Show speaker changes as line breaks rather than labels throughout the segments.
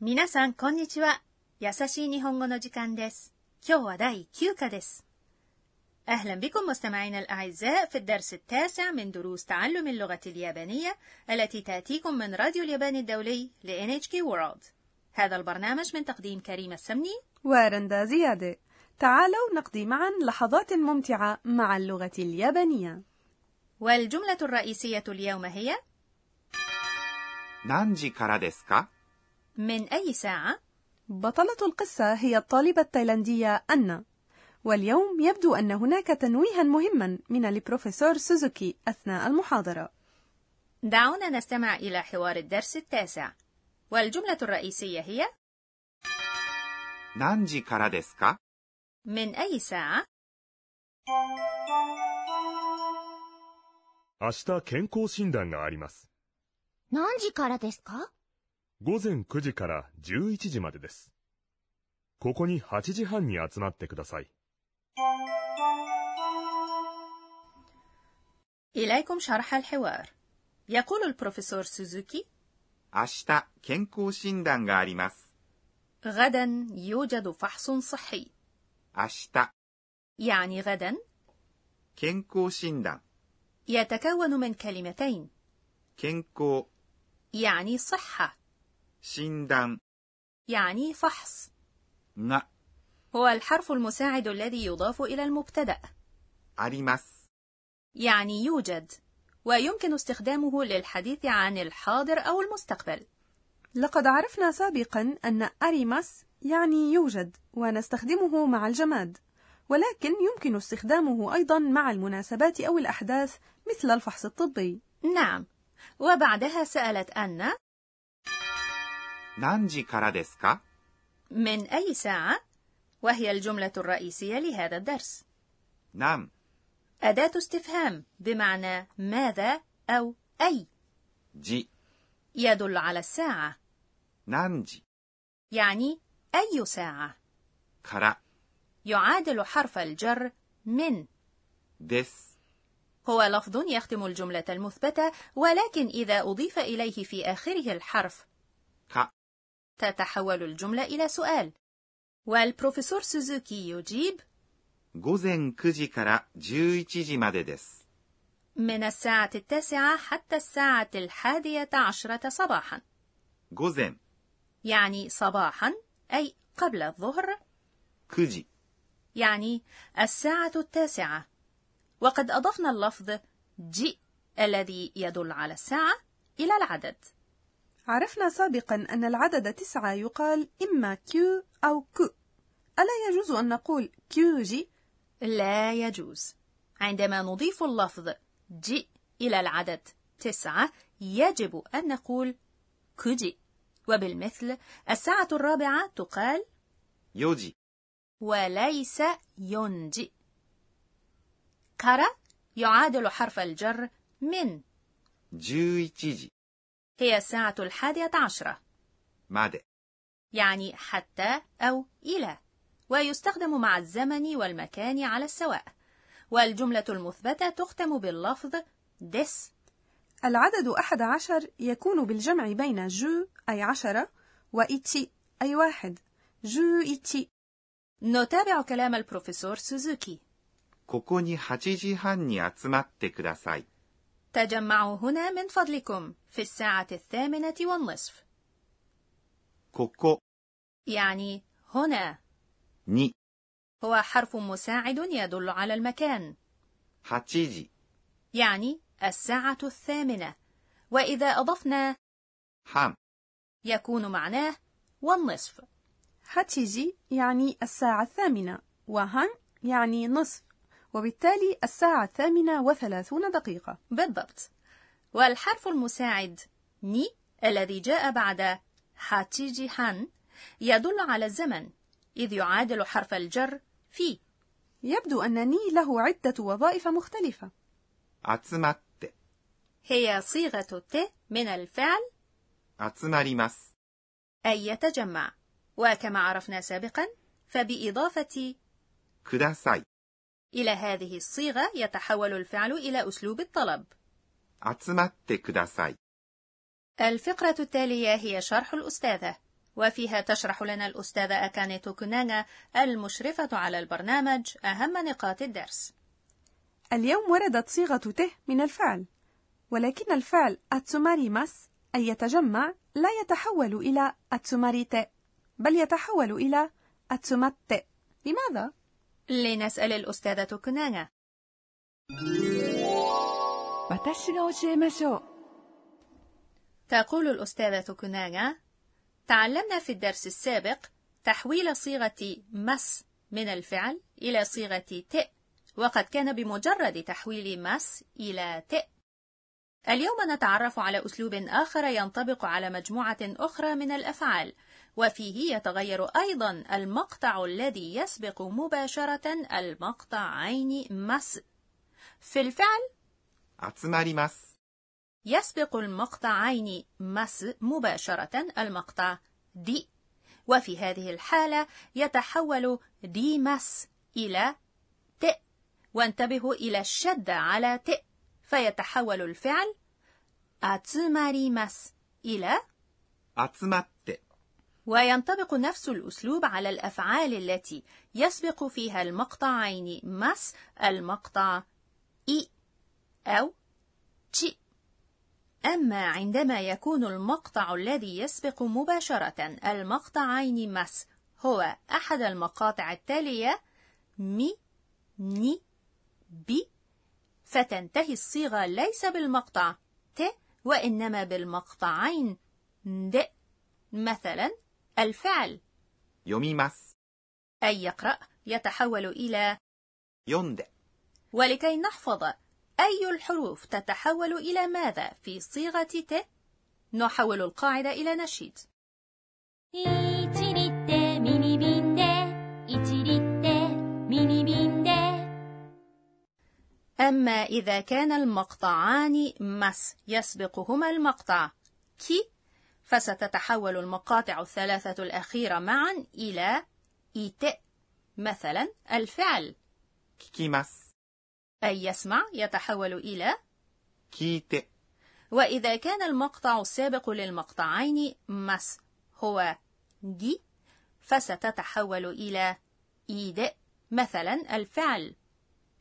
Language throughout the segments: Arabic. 皆さん、こんにちは。優しい日本語の時間です。今日は第9課です。أهلا بكم مستمعينا الأعزاء في الدرس التاسع من دروس تعلم اللغة اليابانية التي تأتيكم من راديو اليابان الدولي ل NHK World. هذا البرنامج من تقديم كريم السمني
ورندا زيادة. تعالوا نقضي معا لحظات ممتعة مع اللغة اليابانية.
والجملة الرئيسية اليوم هي
何時からですか
من أي ساعة؟
بطلة القصة هي الطالبة التايلاندية أنا واليوم يبدو أن هناك تنويها مهما من البروفيسور سوزوكي أثناء المحاضرة
دعونا نستمع إلى حوار الدرس التاسع والجملة الرئيسية هي
何時からですか
من أي ساعة؟
明日健康診断があります。
何時からですか
午前9時から11時までです。ここに8時半に集まってください。
إليكم شرح الحوار. يقول البروفيسور سوزوكي:
明日健康診断があります。
غدا يوجد فحص صحي.
明日
يعني غدا
健康診断
يتكون من كلمتين
健康
يعني صحة
診断
يعني فحص
が
هو الحرف المساعد الذي يضاف إلى المبتدأ
あります
يعني يوجد ويمكن استخدامه للحديث عن الحاضر أو المستقبل
لقد عرفنا سابقا أن أريماس يعني يوجد ونستخدمه مع الجماد ولكن يمكن استخدامه أيضا مع المناسبات أو الأحداث مثل الفحص الطبي
نعم وبعدها سألت أن
何時からですか
من أي ساعة؟ وهي الجملة الرئيسية لهذا الدرس
何
أداة استفهام بمعنى ماذا أو أي
時
يدل على الساعة
何時
يعني أي ساعة
から
يعادل حرف الجر من
です
هو لفظ يختم الجملة المثبتة ولكن إذا أضيف إليه في آخره الحرف
か
تتحول الجملة إلى سؤال والبروفيسور سوزوكي يجيب
午前9時から11時までです
من الساعة التاسعة حتى الساعة الحادية عشرة صباحا
午前
يعني صباحا أي قبل الظهر
9時
يعني الساعة التاسعة وقد أضفنا اللفظ جي الذي يدل على الساعة إلى العدد
عرفنا سابقا أن العدد تسعة يقال إما كيو أو كو ألا يجوز أن نقول كيو جي؟
لا يجوز عندما نضيف اللفظ جي إلى العدد تسعة يجب أن نقول كوجي وبالمثل الساعة الرابعة تقال
4時
وليس ينجي كرا يعادل حرف الجر من
11時
هي الساعة الحادية عشرة
まで
يعني حتى أو إلى ويستخدم مع الزمن والمكان على السواء والجملة المثبتة تختم باللفظ دس
العدد أحد عشر يكون بالجمع بين جو أي عشرة وإتشي أي واحد E جو إتشي
نتابع كلام البروفيسور سوزوكي
ここに8時半に集まってください。
تجمعوا هنا من فضلكم في الساعة الثامنة والنصف.
ここ
يعني هنا
に
هو حرف مساعد يدل على المكان
8時
يعني الساعة الثامنة وإذا أضفنا
半
يكون معناه والنصف
هاتشيجي يعني الساعة الثامنة وهان يعني نصف وبالتالي الساعة الثامنة وثلاثون دقيقة
بالضبط والحرف المساعد ني الذي جاء بعد هاتشيجي هان يدل على الزمن إذ يعادل حرف الجر في
يبدو أن ني له عدة وظائف مختلفة
集まって
هي صيغة ت من الفعل
集まります
أي يتجمع وكما عرفنا سابقا فبإضافة
ください
إلى هذه الصيغة يتحول الفعل إلى أسلوب الطلب
集まってください
الفقرة التالية هي شرح الأستاذة وفيها تشرح لنا الأستاذة أكاني توكوناغا المشرفة على البرنامج أهم نقاط الدرس
اليوم وردت صيغة ته من الفعل ولكن الفعل أتسوماريماس أي يتجمع لا يتحول إلى أتسوماريتي بل يتحول إلى أتسوماتي لماذا؟
لنسأل الأستاذة توكوناغا
私が教えましょう。
تقول الأستاذة توكوناغا تعلمنا في الدرس السابق تحويل صيغة مس من الفعل إلى صيغة ت وقد كان بمجرد تحويل مس إلى ت اليوم نتعرف على أسلوب آخر ينطبق على مجموعة أخرى من الأفعال وفيه يتغير أيضا المقطع الذي يسبق مباشرة المقطعين مس في الفعل
集まります。
يسبق المقطعين مس مباشرة المقطع دي وفي هذه الحالة يتحول دي مس إلى ت وانتبهوا إلى الشدة على ت فيتحول الفعل أتسماري مس إلى
集まって。
وينطبق نفس الأسلوب على الأفعال التي يسبق فيها المقطعين مس المقطع إي أو تشي أما عندما يكون المقطع الذي يسبق مباشرة المقطعين مس هو أحد المقاطع التالية مي ني بي فتنتهي الصيغة ليس بالمقطع ت وإنما بالمقطعين د مثلا الفعل
読みます。
أي يقرأ يتحول إلى
読んで。
ولكي نحفظ أي الحروف تتحول إلى ماذا في صيغة ت نحول القاعدة إلى نشيد
1リってミニ瓶で1リってミニ瓶で
أما إذا كان المقطعان مس يسبقهما المقطع كي فستتحول المقاطع الثلاثة الأخيرة معا إلى إيت مثلا الفعل
聞きます。
أي يسمع يتحول إلى
聞いて。
وإذا كان المقطع السابق للمقطعين مس هو دي فستتحول إلى إيد مثلا الفعل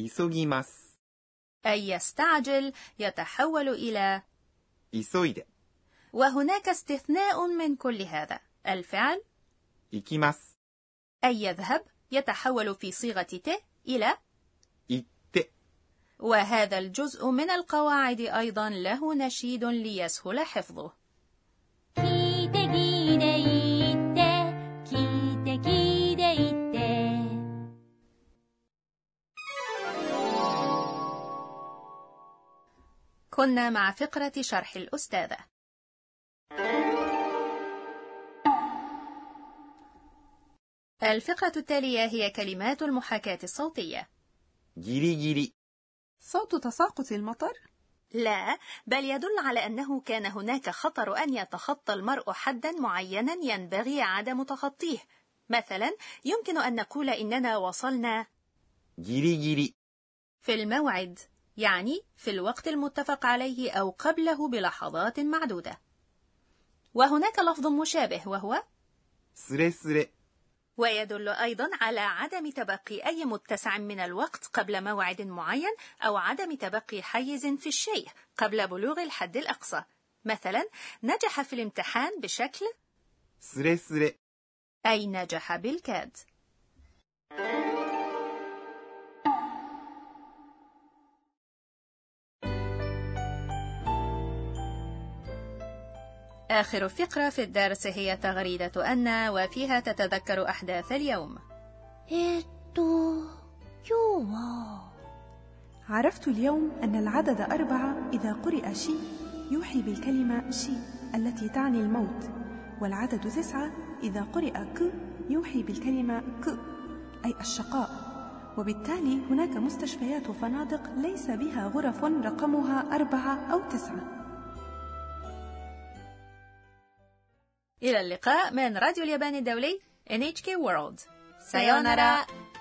急ぎます。
أي يستعجل يتحول إلى
急いで。
وهناك استثناء من كل هذا الفعل
行きます。
أي يذهب يتحول في صيغة ت إلى
行って。
وهذا الجزء من القواعد أيضا له نشيد ليسهل حفظه
聞いて聞いて言って聞いて聞いて言って
كنا مع فقرة شرح الأستاذة الفقرة التالية هي كلمات المحاكاة الصوتية
ギリギリ。
صوت تساقط المطر
لا بل يدل على أنه كان هناك خطر أن يتخطى المرء حدا معينا ينبغي عدم تخطيه مثلا يمكن أن نقول إننا وصلنا
ギリギリ。
في الموعد يعني في الوقت المتفق عليه أو قبله بلحظات معدودة وهناك لفظ مشابه وهو
すれすれ。
ويدل أيضا على عدم تبقي أي متسع من الوقت قبل موعد معين أو عدم تبقي حيز في الشيء قبل بلوغ الحد الأقصى مثلا نجح في الامتحان بشكل
すれすれ。
أي نجح بالكاد آخر فقرة في الدرس هي تغريدة أن وفيها تتذكر أحداث اليوم
えーっと今日は
عرفت اليوم أن العدد أربعة إذا قرئ شي يوحي بالكلمة شي التي تعني الموت والعدد تسعة إذا قرئ ك يوحي بالكلمة ك أي الشقاء وبالتالي هناك مستشفيات وفنادق ليس بها غرف رقمها أربعة أو تسعة
إلى اللقاء من راديو اليابان الدولي NHK World سايونارا